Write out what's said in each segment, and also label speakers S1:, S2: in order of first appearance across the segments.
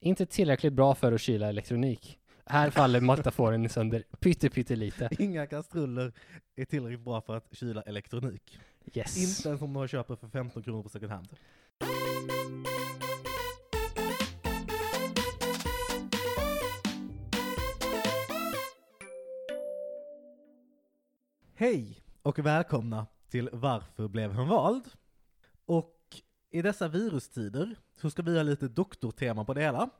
S1: Inte tillräckligt bra för att kyla elektronik. Här faller metaforen sönder pytte, pytte lite.
S2: Inga kastruller är tillräckligt bra för att kyla elektronik.
S1: Yes.
S2: Inte ens om man köper för 15 kronor på second hand. Hej och välkomna till Varför blev han vald? Och i dessa virustider så ska vi ha lite doktortema på det hela.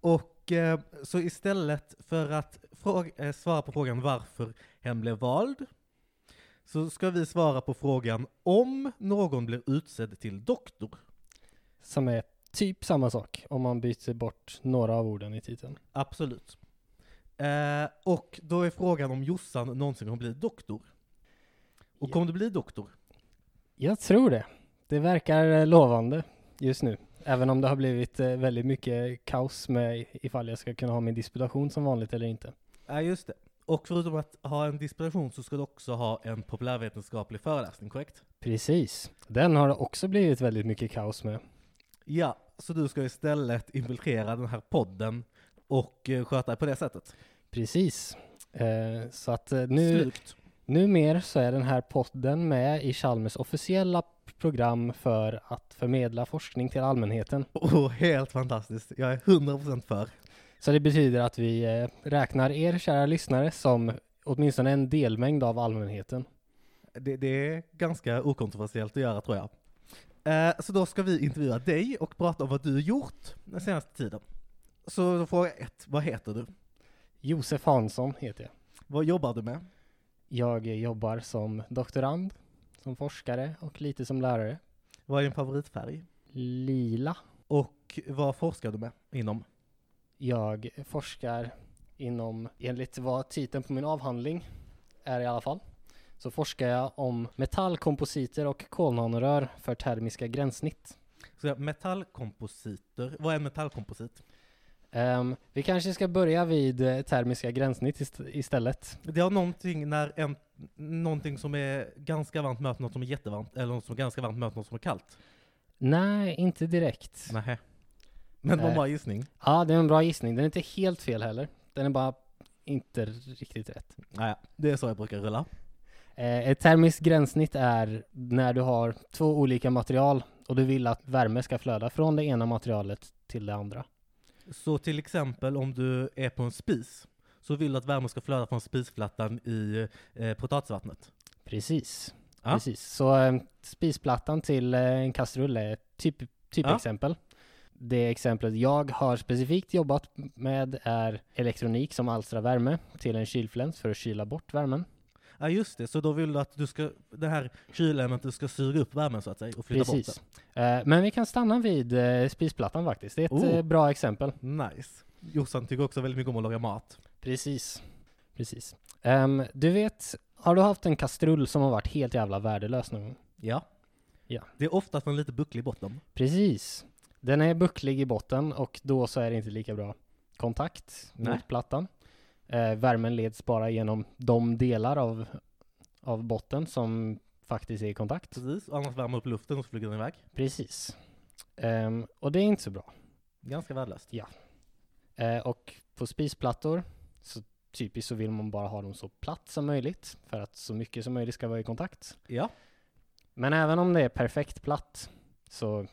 S2: Och eh, så istället för att fråga, eh, svara på frågan varför hen blev vald så ska vi svara på frågan om någon blir utsedd till doktor.
S1: Som är typ samma sak om man byter bort några av orden i titeln.
S2: Absolut. Eh, och då är frågan om Jossan någonsin kommer bli doktor. Och
S1: Ja.
S2: kommer du bli doktor?
S1: Jag tror det. Det verkar eh, lovande just nu. Även om det har blivit eh, väldigt mycket kaos med ifall jag ska kunna ha min disputation som vanligt eller inte.
S2: Ja, just det. Och förutom att ha en disputation så ska du också ha en populärvetenskaplig föreläsning, korrekt?
S1: Precis. Den har det också blivit väldigt mycket kaos med.
S2: Ja, så du ska istället infiltrera den här podden och eh, sköta det på det sättet.
S1: Precis. Eh, så att eh, nu,
S2: Snyggt.
S1: numer så är den här podden med i Chalmers officiella program för att förmedla forskning till allmänheten.
S2: Åh, helt fantastiskt. Jag är 100% för.
S1: Så det betyder att vi eh, räknar er kära lyssnare som åtminstone en delmängd av allmänheten.
S2: Det, det är ganska okontroversiellt att göra tror jag. Eh, så då ska vi intervjua dig och prata om vad du gjort den senaste tiden. Så då fråga ett, vad heter du?
S1: Josef Hansson heter jag.
S2: Vad jobbar du med?
S1: Jag eh, jobbar som doktorand, som forskare och lite som lärare.
S2: Vad är din favoritfärg?
S1: Lila.
S2: Och vad forskar du med inom?
S1: Jag forskar inom, enligt vad titeln på min avhandling är i alla fall, så forskar jag om metallkompositer och kolnanorör för termiska gränssnitt.
S2: Så jag- metallkompositer, vad är en metallkomposit?
S1: Ehm, vi kanske ska börja vid eh, termiska gränssnitt ist- istället.
S2: Det har någonting när en, någonting som är ganska varmt möter något som är jättevarmt, eller något som är ganska varmt möter något som är kallt.
S1: Nej, inte direkt. Ja,
S2: Nähä. Men vad
S1: Eh.
S2: var gissning?
S1: det är en bra gissning. Den är inte helt fel heller. Den är bara inte riktigt rätt.
S2: Naja, det är så jag brukar rulla.
S1: Eh, Ett termiskt gränssnitt är när du har två olika material och du vill att värme ska flöda från det ena materialet till det andra.
S2: Så till exempel om du är på en spis, så vill du att värmen ska flöda från spisflattan i eh, potatisvattnet.
S1: Precis.
S2: Ja.
S1: Precis. Så eh, spisplattan till eh, en kastrull är typ, typ
S2: Ja.
S1: exempel. Det exemplet jag har specifikt jobbat med är elektronik som alstrar värme till en kylfläns för att kyla bort värmen.
S2: Ja just det, så då vill du att du ska, det här kylämnet ska suga upp värmen så att säga och flytta bort
S1: Precis. Eh, Men vi kan stanna vid eh, spisplattan faktiskt. Det är ett
S2: Oh.
S1: eh, bra exempel.
S2: den. Nice. Jossan tycker också väldigt mycket om att laga mat.
S1: Precis. Precis. Ehm, du vet, har du haft en kastrull som har varit helt jävla värdelös någon gång?
S2: Ja.
S1: Ja.
S2: Det är oftast en lite bucklig botten.
S1: Precis. Den är bucklig i botten och då så är det inte lika bra kontakt
S2: Nej.
S1: mot plattan. Eh, värmen leds bara genom de delar av, av botten som faktiskt är i kontakt.
S2: Precis, och annars värmer upp luften och så flyger den iväg.
S1: Precis. Ehm, och det är inte så bra.
S2: Ganska värdelöst.
S1: Eh, och på spisplattor, så typiskt så vill man bara ha dem så platt som möjligt för att så mycket som möjligt ska vara i kontakt.
S2: Ja.
S1: Men även om det är perfekt platt så,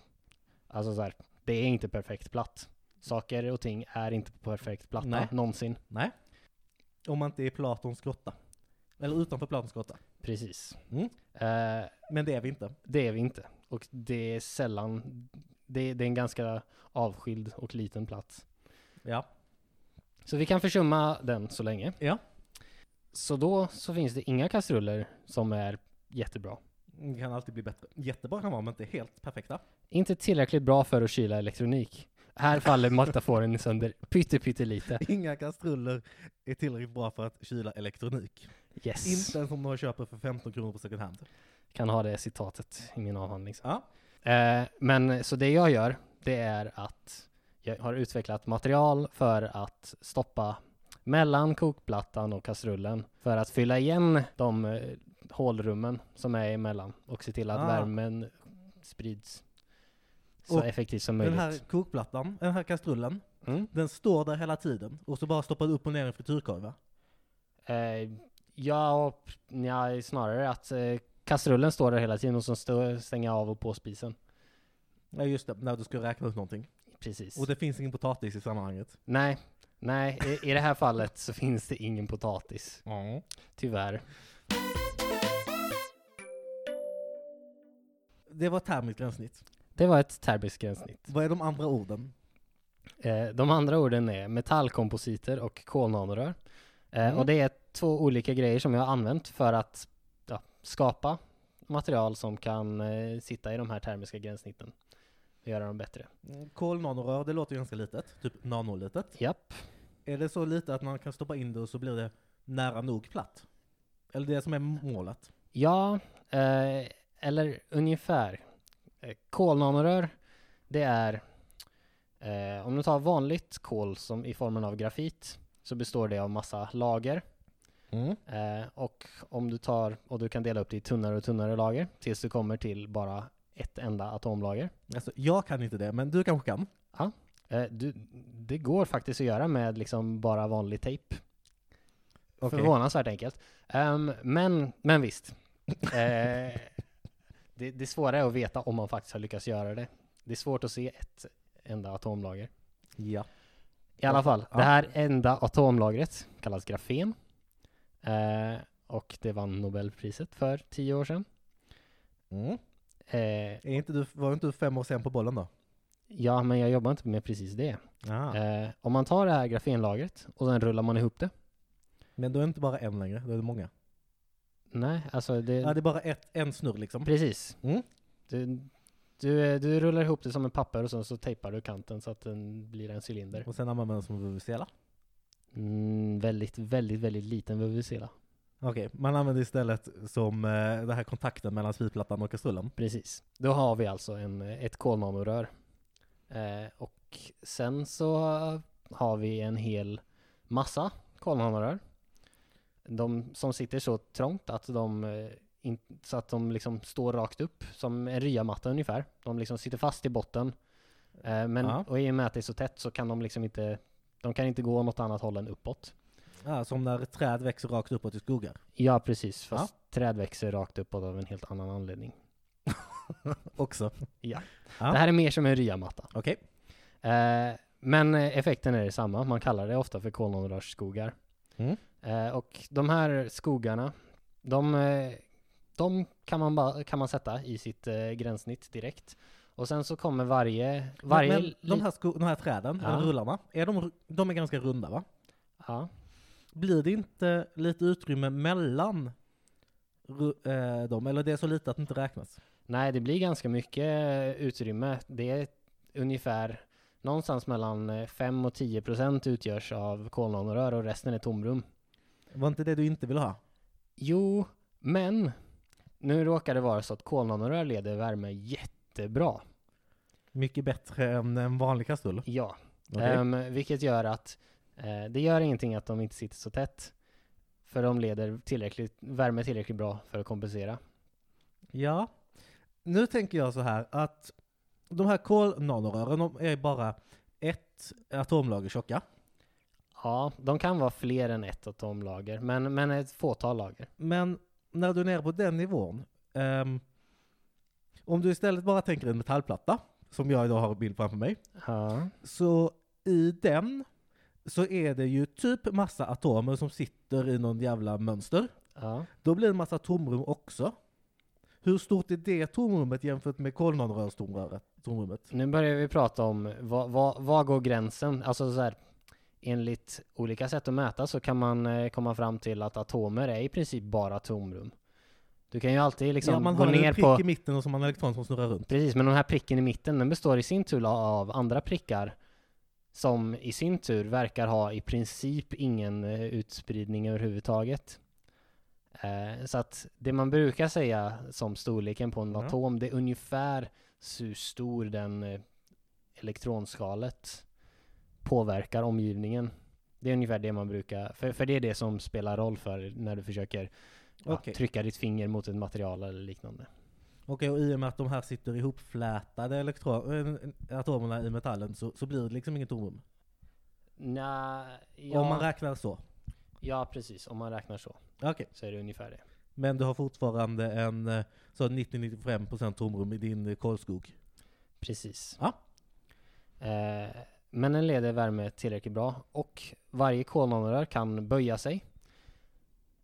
S1: alltså så här, det är inte perfekt platt. Saker och ting är inte perfekt platta
S2: Nej.
S1: någonsin.
S2: Nej. Om man inte är i Platons grotta. Eller utanför Platons grotta.
S1: Precis.
S2: Mm.
S1: Eh,
S2: Men det är vi inte.
S1: det är vi inte. Och det är sällan, det, det är en ganska avskild och liten plats.
S2: Ja.
S1: Så vi kan försumma den så länge.
S2: Ja.
S1: Så då så finns det inga kastruller som är jättebra.
S2: Det kan alltid bli bättre. Jättebra kan vara, men inte helt perfekta.
S1: Inte tillräckligt bra för att kyla elektronik. Här faller metaforen sönder pytte pytte lite.
S2: Inga kastruller är tillräckligt bra för att kyla elektronik.
S1: Yes.
S2: Inte ens om några köper för 15 kronor på second hand.
S1: kan ha det citatet i min avhandling. sen.
S2: Ja.
S1: Eh, men så det jag gör, det är att jag har utvecklat material för att stoppa mellan kokplattan och kastrullen för att fylla igen de eh, hålrummen som är emellan och se till att
S2: Ah.
S1: värmen sprids så
S2: Och
S1: effektivt som
S2: Den
S1: möjligt.
S2: här kokplattan, den här kastrullen,
S1: Mm.
S2: Den står där hela tiden och så bara stoppar du upp och ner en frityrkorv va?
S1: Eh, ja, och p- nja, snarare att eh, kastrullen står där hela tiden och så stå, stänger jag av och på spisen.
S2: Ja just det, när du ska räkna ut någonting.
S1: Precis.
S2: Och det finns ingen potatis i sammanhanget.
S1: Nej, nej, i, i det här fallet så finns det ingen potatis. Tyvärr.
S2: Det var termiskt gränssnitt.
S1: Det var ett terbiskt gränssnitt.
S2: Vad är de andra orden?
S1: Eh, de andra orden är metallkompositer och kolnanrör. Eh,
S2: Mm.
S1: Och det är två olika grejer som jag har använt för att ja, skapa material som kan eh, sitta i de här termiska gränssnitten och göra dem bättre.
S2: Mm, Kolnanorör, det låter ju ganska litet. Typ nanolitet.
S1: Japp.
S2: Är det så litet att man kan stoppa in det och så blir det nära nog platt? Eller det som är målet?
S1: Ja, eh, eller ungefär. Eh, Kolnanrör, det är, eh, om du tar vanligt kol som i formen av grafit, så består det av massa lager. Eh, och om du tar, och du kan dela upp det i tunnare och tunnare lager, tills du kommer till bara ett enda atomlager.
S2: Alltså, jag kan inte det, men du kanske kan?
S1: Eh, du, det går faktiskt att göra med liksom bara vanlig tejp.
S2: Okej.
S1: Förvånansvärt enkelt. Ehm, men, men visst. Eh, det, det svåra är att veta om man faktiskt har lyckats göra det. Det är svårt att se ett enda atomlager.
S2: Ja.
S1: I alla fall,
S2: Ja.
S1: det här enda atomlagret kallas grafen. Eh, och det vann Nobelpriset för tio år sedan. Eh,
S2: Mm. Är inte du, var inte du fem år sen på bollen då?
S1: Ja, men jag jobbar inte med precis det. Eh, om man tar det här grafenlagret och sen rullar man ihop det.
S2: Men då är det inte bara en längre, då är det
S1: Eh.
S2: många.
S1: Nej, alltså det...
S2: Ja, det är bara ett, en snurr liksom.
S1: Precis.
S2: Mm.
S1: Du, du, eh, du rullar ihop det som en papper och sen så tejpar du kanten så att den blir en cylinder.
S2: Och sen använder man den som vuvuzela.
S1: Mm, väldigt, väldigt, väldigt liten vuvuzela.
S2: Okej, man använder istället som eh, den här kontakten mellan sviplattan och kastrullen.
S1: Precis. Då har vi alltså en, eh, ett kolnanorör. Eh, och sen så har vi en hel massa kolnanorör. De som sitter så trångt att de, eh, in, så att de liksom står rakt upp som en ryamatta ungefär. De liksom sitter fast i botten. Eh, men,
S2: Ja.
S1: Och i och med att det är så tätt så kan de liksom inte, de kan inte gå något annat håll än uppåt.
S2: Ja, som när träd växer rakt uppåt i skogar.
S1: Ja, precis. Fast träd växer rakt uppåt av en helt annan anledning.
S2: Också. Ja.
S1: Det här är mer som en ryamatta.
S2: Okej.
S1: Eh, men eh, effekten är detsamma. Man kallar det ofta för kolonrörsskogar.
S2: Mm.
S1: Eh, och de här skogarna, de, eh, de kan, man ba, kan man sätta i sitt eh, gränssnitt direkt. Och sen så kommer varje... varje
S2: Men de
S1: li- Ah.
S2: här, sko- de här träden,
S1: Ja.
S2: eller rullarna, är de, ru- de är ganska runda va?
S1: ja,
S2: Blir det inte lite utrymme mellan ru- eh, dem? Eller det är så lite att det inte räknas?
S1: nej, det blir ganska mycket eh, utrymme. Det är ungefär någonstans mellan 5 och 10 procent utgörs av kolonrör och resten är tomrum.
S2: Var inte det du inte ville ha?
S1: Jo, men nu råkar det vara så att kolnanrör leder värme jättebra.
S2: Mycket bättre än en vanlig kastrull.
S1: Ja,
S2: Okej.
S1: Ehm, vilket gör att eh, det gör ingenting att de inte sitter så tätt. För de leder tillräckligt, värme tillräckligt bra för att kompensera.
S2: Ja. Nu tänker jag så här att de här kolnanorören de är bara ett atomlager tjocka.
S1: Ja, de kan vara fler än ett atomlager, men, men ett fåtal lager.
S2: Men när du är nere på den nivån, ehm, om du istället bara tänker en metallplatta, som jag idag har en bild framför mig,
S1: Ja,
S2: så i den så är det ju typ massa atomer som sitter i någon jävla mönster.
S1: ja.
S2: Då blir det en massa tomrum också. Hur stort är det tomrummet jämfört med kolnanorörstomröret? Tomrummet?
S1: Nu börjar vi prata om vad, vad, vad går gränsen? Alltså så här, enligt olika sätt att mäta så kan man eh, komma fram till att atomer är i princip bara tomrum. Du kan ju alltid liksom
S2: ja, man
S1: gå
S2: har en
S1: ner
S2: prick
S1: på...
S2: i mitten och så har man elektron som snurrar runt.
S1: Precis, men den här pricken i mitten den består i sin tur av andra prickar som i sin tur verkar ha i princip ingen eh, utspridning överhuvudtaget. Eh, så att det man brukar säga som storleken på en
S2: Ja.
S1: atom, det är ungefär så hur stor den eh, elektronskalet påverkar omgivningen. Det är ungefär det man brukar, för, för det är det som spelar roll för när du försöker ja,
S2: Okej.
S1: trycka ditt finger mot ett material eller liknande.
S2: Okej, och i och med att de här sitter ihopflätade elektron- äh, atomerna i metallen så, så blir det liksom inget tomrum.
S1: Nja, ja,
S2: Om man räknar så.
S1: ja, precis. Om man räknar så,
S2: Okej.
S1: så är det ungefär det.
S2: Men du har fortfarande en eh, så 90-95% tomrum i din eh, kolskog.
S1: Precis.
S2: Ja.
S1: Eh, men den leder värme tillräckligt bra och varje kolonrör kan böja sig.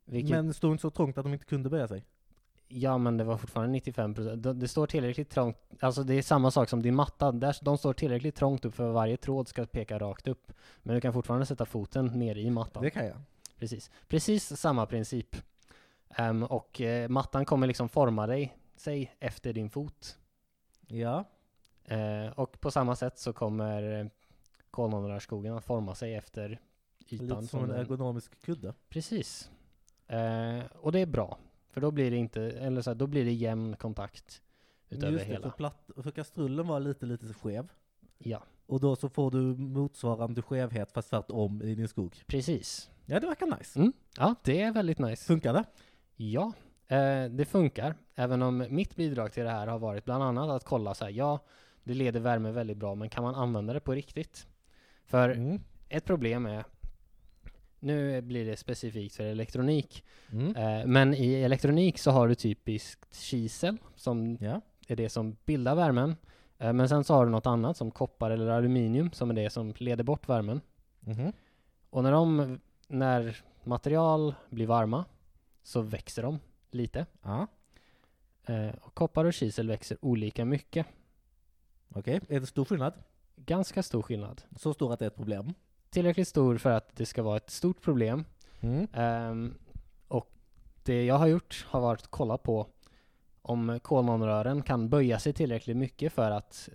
S1: Vilket,
S2: Men det stod inte så trångt att de inte kunde böja sig.
S1: Ja men det var fortfarande 95%. Det, det står tillräckligt trångt, alltså det är samma sak som din matta. Där, de står tillräckligt trångt upp för att varje tråd ska peka rakt upp. Men du kan fortfarande sätta foten ner i mattan.
S2: Det kan jag.
S1: Precis. Precis samma princip. Ehm, och eh, mattan kommer liksom forma dig, sig efter din fot.
S2: Ja.
S1: Eh, och på samma sätt så kommer eh, kolonrörsskogen att forma sig efter ytan.
S2: Lite som en
S1: den-
S2: ergonomisk kudde.
S1: Precis. Eh, och det är bra. För då blir det inte, eller så här, då blir det jämn kontakt utöver
S2: Just det,
S1: hela.
S2: för, platt, för kastrullen var lite, lite skev.
S1: Ja,
S2: Och då så får du motsvarande skevhet fast tvärtom i din skog.
S1: precis.
S2: Ja, det verkar nice.
S1: Mm. Ja, det är väldigt nice.
S2: Funkar det?
S1: Ja, eh, det funkar. Även om mitt bidrag till det här har varit bland annat att kolla så här, ja, det leder värme väldigt bra, men kan man använda det på riktigt? För
S2: Mm.
S1: ett problem är, nu blir det specifikt för elektronik,
S2: Mm.
S1: Eh, Men i elektronik så har du typiskt kisel som
S2: Ja.
S1: är det som bildar värmen. Eh, Men sen så har du något annat som koppar eller aluminium som är det som leder bort värmen.
S2: Mhm.
S1: Och när, de, när material blir varma så växer de lite.
S2: Ja.
S1: Eh, Och koppar och kisel växer olika mycket.
S2: Okej, är det stor skillnad?
S1: Ganska stor skillnad.
S2: Så stor att det är ett problem?
S1: Tillräckligt stor för att det ska vara ett stort problem.
S2: Mm.
S1: Ehm, och det jag har gjort har varit att kolla på om kolonrören kan böja sig tillräckligt mycket för att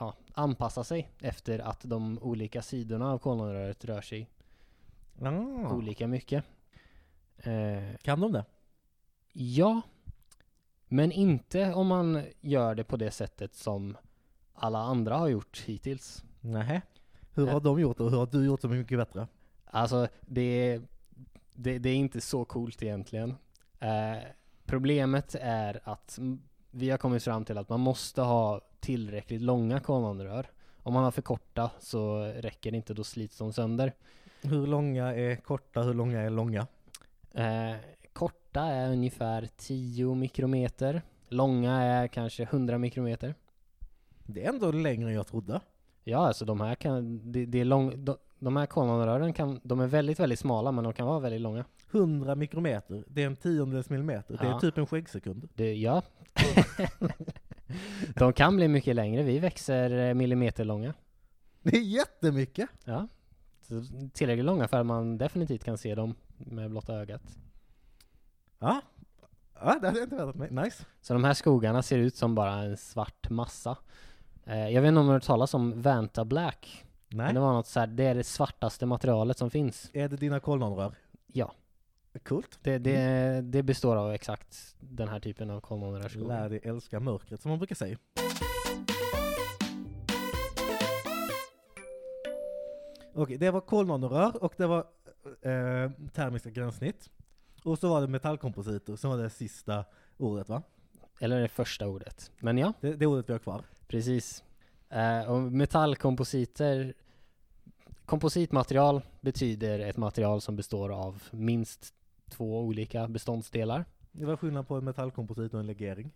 S1: ja, anpassa sig efter att de olika sidorna av kolonröret rör sig
S2: Ah.
S1: olika mycket. Eh,
S2: Kan de det?
S1: ja, men inte om man gör det på det sättet som alla andra har gjort hittills.
S2: Nej. Hur
S1: Nej.
S2: har de gjort det och hur har du gjort det mycket bättre?
S1: Alltså det är, det, det är inte så coolt egentligen. Eh, problemet är att m- vi har kommit fram till att man måste ha tillräckligt långa kolonrör. Om man har för korta så räcker det inte, då slits de sönder.
S2: Hur långa är korta, hur långa är långa?
S1: Eh, korta är ungefär 10 mikrometer. Långa är kanske 100 mikrometer.
S2: Det är ändå längre än jag trodde.
S1: Ja, alltså de här kan, det, det är lång, de, de här kolonrören kan, de är väldigt, väldigt smala men de kan vara väldigt långa.
S2: 100 mikrometer, det är en tiondels millimeter. Det är
S1: Ja.
S2: typ en skäggsekund.
S1: Det, ja. De kan bli mycket längre. Vi växer eh, millimeterlånga.
S2: Det är jättemycket!
S1: Ja. Så Tillräckligt långa för att man definitivt kan se dem med blotta ögat.
S2: Ja, ja det hade jag inte väntat mig. Nice.
S1: Så de här skogarna ser ut som bara en svart massa. Eh, Jag vet inte om du har hört talas om Vanta Black?
S2: Nej.
S1: Men det var något så här, det är det svartaste materialet som finns.
S2: Är det dina kolonrör?
S1: Ja.
S2: Coolt.
S1: Det, det, det består av exakt den här typen av kolmonerarskog.
S2: Mm. Lär dig älska mörkret som man brukar säga. Okej, det var kolonrör och det var eh, termiska gränssnitt. Och så var det metallkompositer som var det sista ordet va?
S1: Eller det första ordet. Men ja.
S2: Det, det ordet vi har kvar.
S1: Precis. Eh, och metallkompositer, kompositmaterial betyder ett material som består av minst två olika beståndsdelar.
S2: Det var skillnad på en metallkomposit och en legering.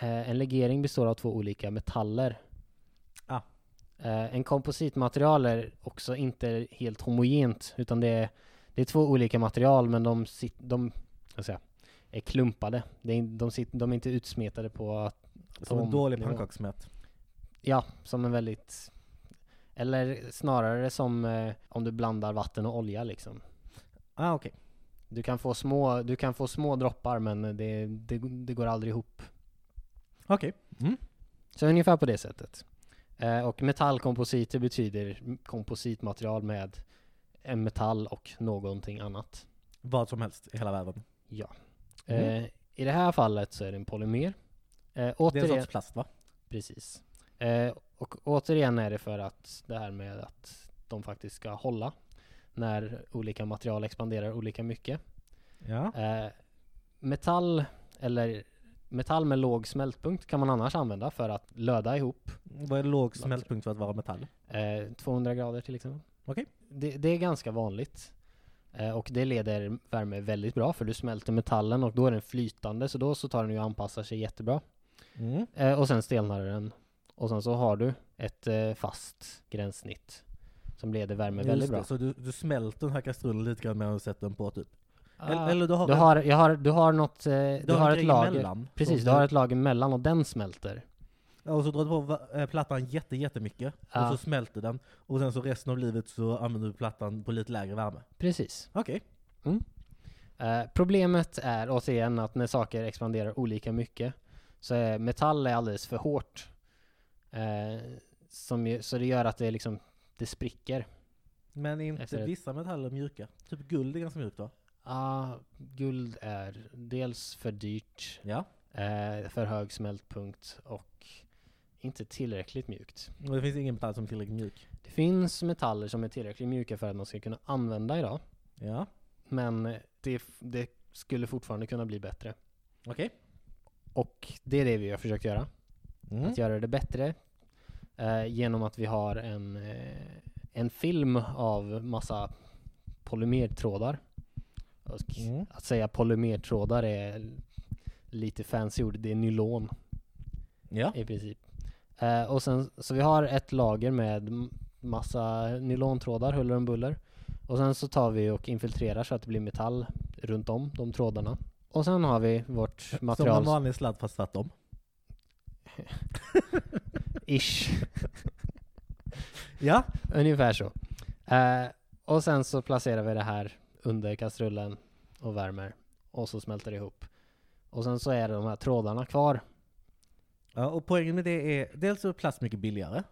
S1: Eh, en legering består av två olika metaller.
S2: Ah.
S1: Eh, en kompositmaterial är också inte helt homogent, utan det är, det är två olika material, men de, sit, de vad ska jag säga, är klumpade. Det är, in- de, sit, de är inte utsmetade på att...
S2: Som en
S1: atom-
S2: dålig
S1: nivå.
S2: pannkakssmet.
S1: Ja, som en väldigt... Eller snarare som eh, om du blandar vatten och olja liksom.
S2: Ah okej.
S1: Du kan få små, du kan få små droppar men det, det, det går aldrig ihop.
S2: Okej. Mm.
S1: Så ungefär på det sättet. Eh, och metallkompositer betyder m- kompositmaterial med en metall och någonting annat.
S2: Vad som helst i hela världen. Mm.
S1: Eh, I det här fallet så är det en polymer. Eh,
S2: Det är en
S1: återigen,
S2: sorts plast va?
S1: Precis. Eh, och återigen är det för att det här med att de faktiskt ska hålla när olika material expanderar olika mycket.
S2: Ja.
S1: Eh, metall eller metall med låg smältpunkt kan man annars använda för att löda ihop.
S2: Vad är låg smältpunkt för att vara metall?
S1: Eh, Eh, 200 grader till exempel.
S2: Okej.
S1: Det, det är ganska vanligt. Eh, och det leder värme väldigt bra för du smälter metallen och då är den flytande så då så tar den ju och anpassar sig jättebra.
S2: Mm.
S1: Eh, och sen stelnar den. Och sen så har du ett eh, fast gränssnitt som leder värme
S2: Just
S1: väldigt
S2: det,
S1: bra.
S2: Så du, du smälter den här kastrullen lite grann medan du sätter den på typ?
S1: Ah.
S2: Eller, eller du har,
S1: Du
S2: en-
S1: har, jag har, du har något, eh, du,
S2: en
S1: har ett
S2: grej
S1: lager.
S2: emellan.
S1: Precis,
S2: Så
S1: du har ett lager mellan och den smälter.
S2: Ja, och så drar du på va- eh, plattan jätte, jättemycket,
S1: Ja.
S2: och så smälter den, och sen så resten av livet så använder du plattan på lite lägre värme.
S1: Precis.
S2: Okej.
S1: Eh, problemet är återigen att när saker expanderar olika mycket så är metall är alldeles för hårt. Eh, som ju, så det gör att det liksom, det spricker.
S2: Men inte
S1: Efter ett-
S2: vissa metaller mjuka. Typ guld är ganska mjukt va?
S1: Ah, guld är dels för dyrt,
S2: Ja.
S1: eh, för hög smältpunkt och inte tillräckligt mjukt.
S2: Och det finns ingen metall som är tillräckligt mjuk.
S1: Det finns metaller som är tillräckligt mjuka för att man ska kunna använda idag,
S2: Ja.
S1: men det, f- det skulle fortfarande kunna bli bättre.
S2: Okej.
S1: Och det är det vi har försökt göra.
S2: Mm.
S1: att göra det bättre eh, genom att vi har en, eh, en film av massa polymertrådar. Och
S2: Mm.
S1: Att säga polymertrådar är lite fancy ord, det är nylon
S2: Ja.
S1: i princip. Eh, och sen, så vi har ett lager med m- massa nylontrådar, huller om buller. Och sen så tar vi och infiltrerar så att det blir metall runt om de trådarna. Och sen har vi vårt
S2: Som en
S1: material
S2: vanlig sladd fast tvärtom.
S1: ish.
S2: Ja.
S1: Ungefär så. Eh, och sen så placerar vi det här under kastrullen och värmer. Och så smälter det ihop. Och sen så är det de här trådarna kvar.
S2: ja. Och poängen med det är, dels så är plast mycket billigare.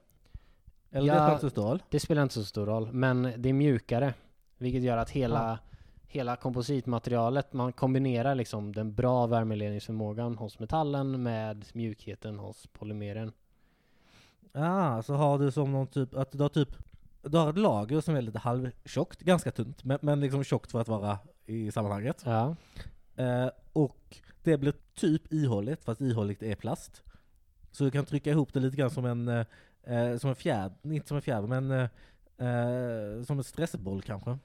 S2: Eller
S1: Ja.
S2: det är plast och stål.
S1: Det spelar inte så stor roll, men det är mjukare. Vilket gör att hela, hela kompositmaterialet, man kombinerar liksom den bra värmeledningsförmågan hos metallen med mjukheten hos polymeren.
S2: Ah, så har du som någon typ, att du har typ, du har ett lager som är lite halvtjockt, ganska tunt, men, men liksom tjockt för att vara i sammanhanget.
S1: Ja,
S2: Eh, och det blir typ ihåligt, fast ihåligt är plast. Så du kan trycka ihop det lite grann som en, eh, eh, som en fjäder, inte som en fjäder, men eh, eh, som en stressboll kanske.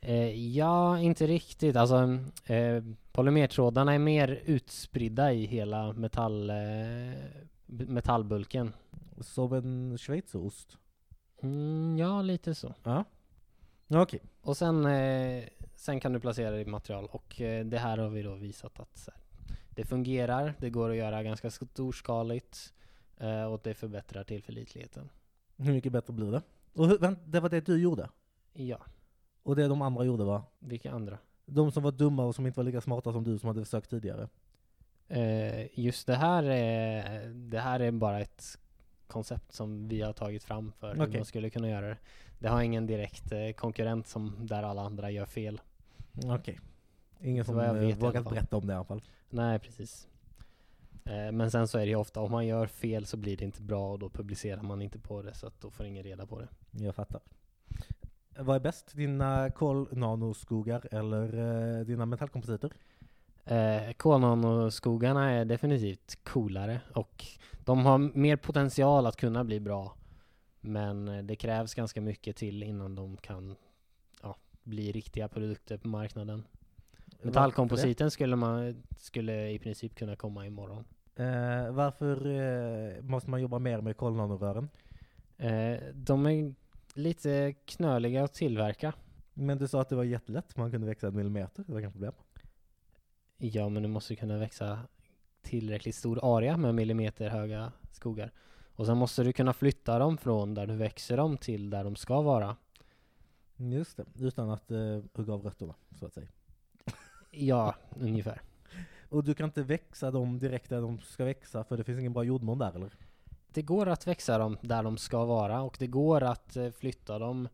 S1: eh, ja inte riktigt. Alltså, eh, polymertrådarna är mer utspridda i hela metall, eh, b- metallbulken.
S2: Som en schweizerost.
S1: Mm, ja, lite så.
S2: Ja. Ja, Okej.
S1: Och sen, eh, sen kan du placera ditt material och eh, det här har vi då visat att så här, det fungerar, det går att göra ganska storskaligt eh, och det förbättrar tillförlitligheten.
S2: Hur mycket bättre blir det? Och hur, vänt, det var det du gjorde?
S1: Ja,
S2: Och det de andra gjorde var?
S1: vilka andra?
S2: De som var dumma och som inte var lika smarta som du som hade försökt tidigare.
S1: Eh, just det här, är, det här är bara ett koncept som vi har tagit fram för hur
S2: Okej.
S1: man skulle kunna göra det. Det har ingen direkt eh, konkurrent som där alla andra gör fel.
S2: Okej. Ingen
S1: Så
S2: Mm. som
S1: vad jag vet
S2: eh,
S1: i alla
S2: vågat
S1: fall.
S2: berätta om det i alla fall.
S1: Nej, precis. Eh, Men sen så är det ju ofta, om man gör fel så blir det inte bra och då publicerar man inte på det så att då får ingen reda på det.
S2: Jag fattar. Vad är bäst? Dina kolnanoskogar eller eh, dina metallkompositer?
S1: Eh, Konan och skogarna är definitivt coolare och de har mer potential att kunna bli bra. Men eh, det krävs ganska mycket till innan de kan ja, bli riktiga produkter på marknaden. Metallkompositen skulle, man, skulle i princip kunna komma imorgon.
S2: Varför, det? eh, varför eh, måste man jobba mer med kolnanorören?
S1: Eh, De är lite knöliga att tillverka.
S2: Men du sa att det var jättelätt, man kunde växa en millimeter, det var inga problem.
S1: Ja, men du måste kunna växa tillräckligt stor area med millimeterhöga skogar. Och sen måste du kunna flytta dem från där du växer dem till där de ska vara.
S2: Just det, utan att eh, hugga av rötterna, så att säga.
S1: Ja, ungefär.
S2: Och du kan inte växa dem direkt där de ska växa, för det finns ingen bra jordmån där, eller?
S1: Det går att växa dem där de ska vara och det går att eh, flytta dem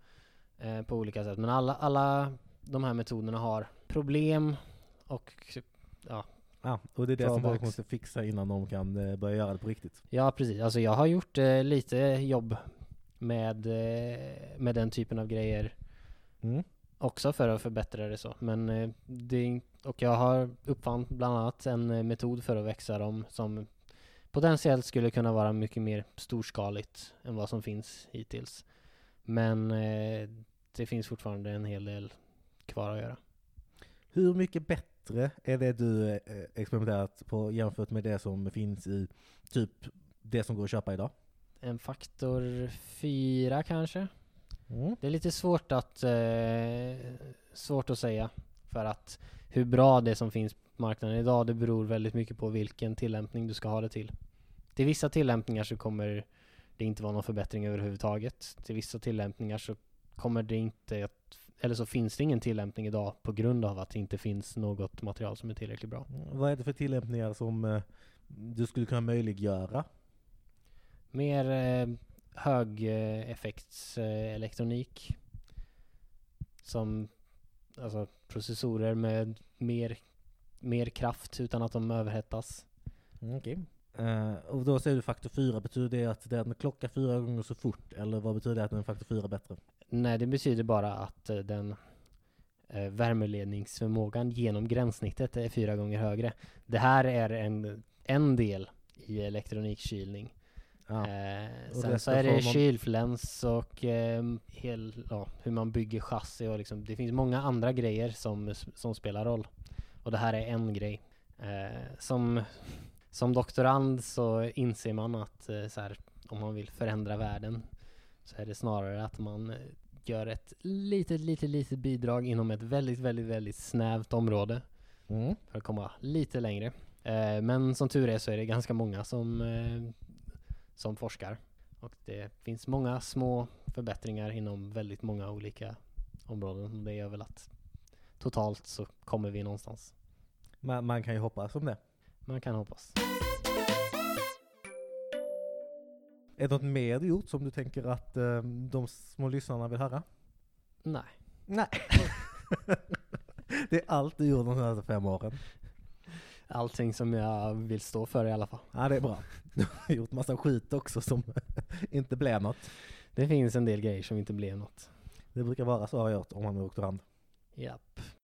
S1: eh, på olika sätt. Men alla, alla de här metoderna har problem och
S2: Ja, och det är det som folk
S1: Drawbacks.
S2: måste fixa innan de kan eh, börja göra det på riktigt.
S1: ja, precis. Alltså jag har gjort eh, lite jobb med, eh, med den typen av grejer
S2: Mm.
S1: också för att förbättra det så. Men eh, det, är in- och jag har uppfann bland annat en eh, metod för att växa dem som potentiellt skulle kunna vara mycket mer storskaligt än vad som finns hittills. Men eh, det finns fortfarande en hel del kvar att göra.
S2: Hur mycket bättre är det du eh, experimenterat på jämfört med det som finns i typ det som går att köpa idag?
S1: En faktor fyra kanske?
S2: Mm.
S1: Det är lite svårt att, eh, svårt att säga. För att hur bra det som finns på marknaden idag, det beror väldigt mycket på vilken tillämpning du ska ha det till. Till vissa tillämpningar så kommer det inte vara någon förbättring överhuvudtaget. Till vissa tillämpningar så kommer det inte att, eller så finns det ingen tillämpning idag på grund av att det inte finns något material som är tillräckligt bra.
S2: Vad är det för tillämpningar som eh, du skulle kunna möjliggöra?
S1: Mer eh, högeffektselektronik. Eh, som alltså processorer med mer, mer kraft utan att de överhettas.
S2: Mm, Okej. Eh, och då säger du faktor 4, betyder det att den klockar fyra gånger så fort? Eller vad betyder det att den är faktor 4 bättre?
S1: Nej, det betyder bara att eh, den eh, värmeledningsförmågan genom gränssnittet är fyra gånger högre. Det här är en, en del i elektronikkylning.
S2: Ja.
S1: Eh,
S2: Och
S1: sen
S2: resten
S1: så är det
S2: får man-
S1: kylfläns och eh, hel, ja, hur man bygger chassi och liksom, det finns många andra grejer som, som spelar roll. Och det här är en grej. Eh, som, som doktorand så inser man att eh, så här, om man vill förändra världen så är det snarare att man eh, gör ett litet, litet, litet bidrag inom ett väldigt, väldigt, väldigt snävt område
S2: Mm.
S1: för att komma lite längre. Eh, men som tur är så är det ganska många som, eh, som forskar. Och det finns många små förbättringar inom väldigt många olika områden. Och det gör väl att totalt så kommer vi någonstans.
S2: Man, man kan ju hoppas om det.
S1: Man kan hoppas.
S2: Är det något mer du gjort som du tänker att eh, de små lyssnarna vill höra?
S1: Nej.
S2: Nej. det är allt du gjort de senaste fem åren.
S1: Allting som jag vill stå för i alla fall.
S2: Ja, det är bra. Du har gjort massa skit också som inte blev något.
S1: Det finns en del grejer som inte blev något.
S2: Det brukar vara så har jag gjort om man är doktorand.
S1: Japp.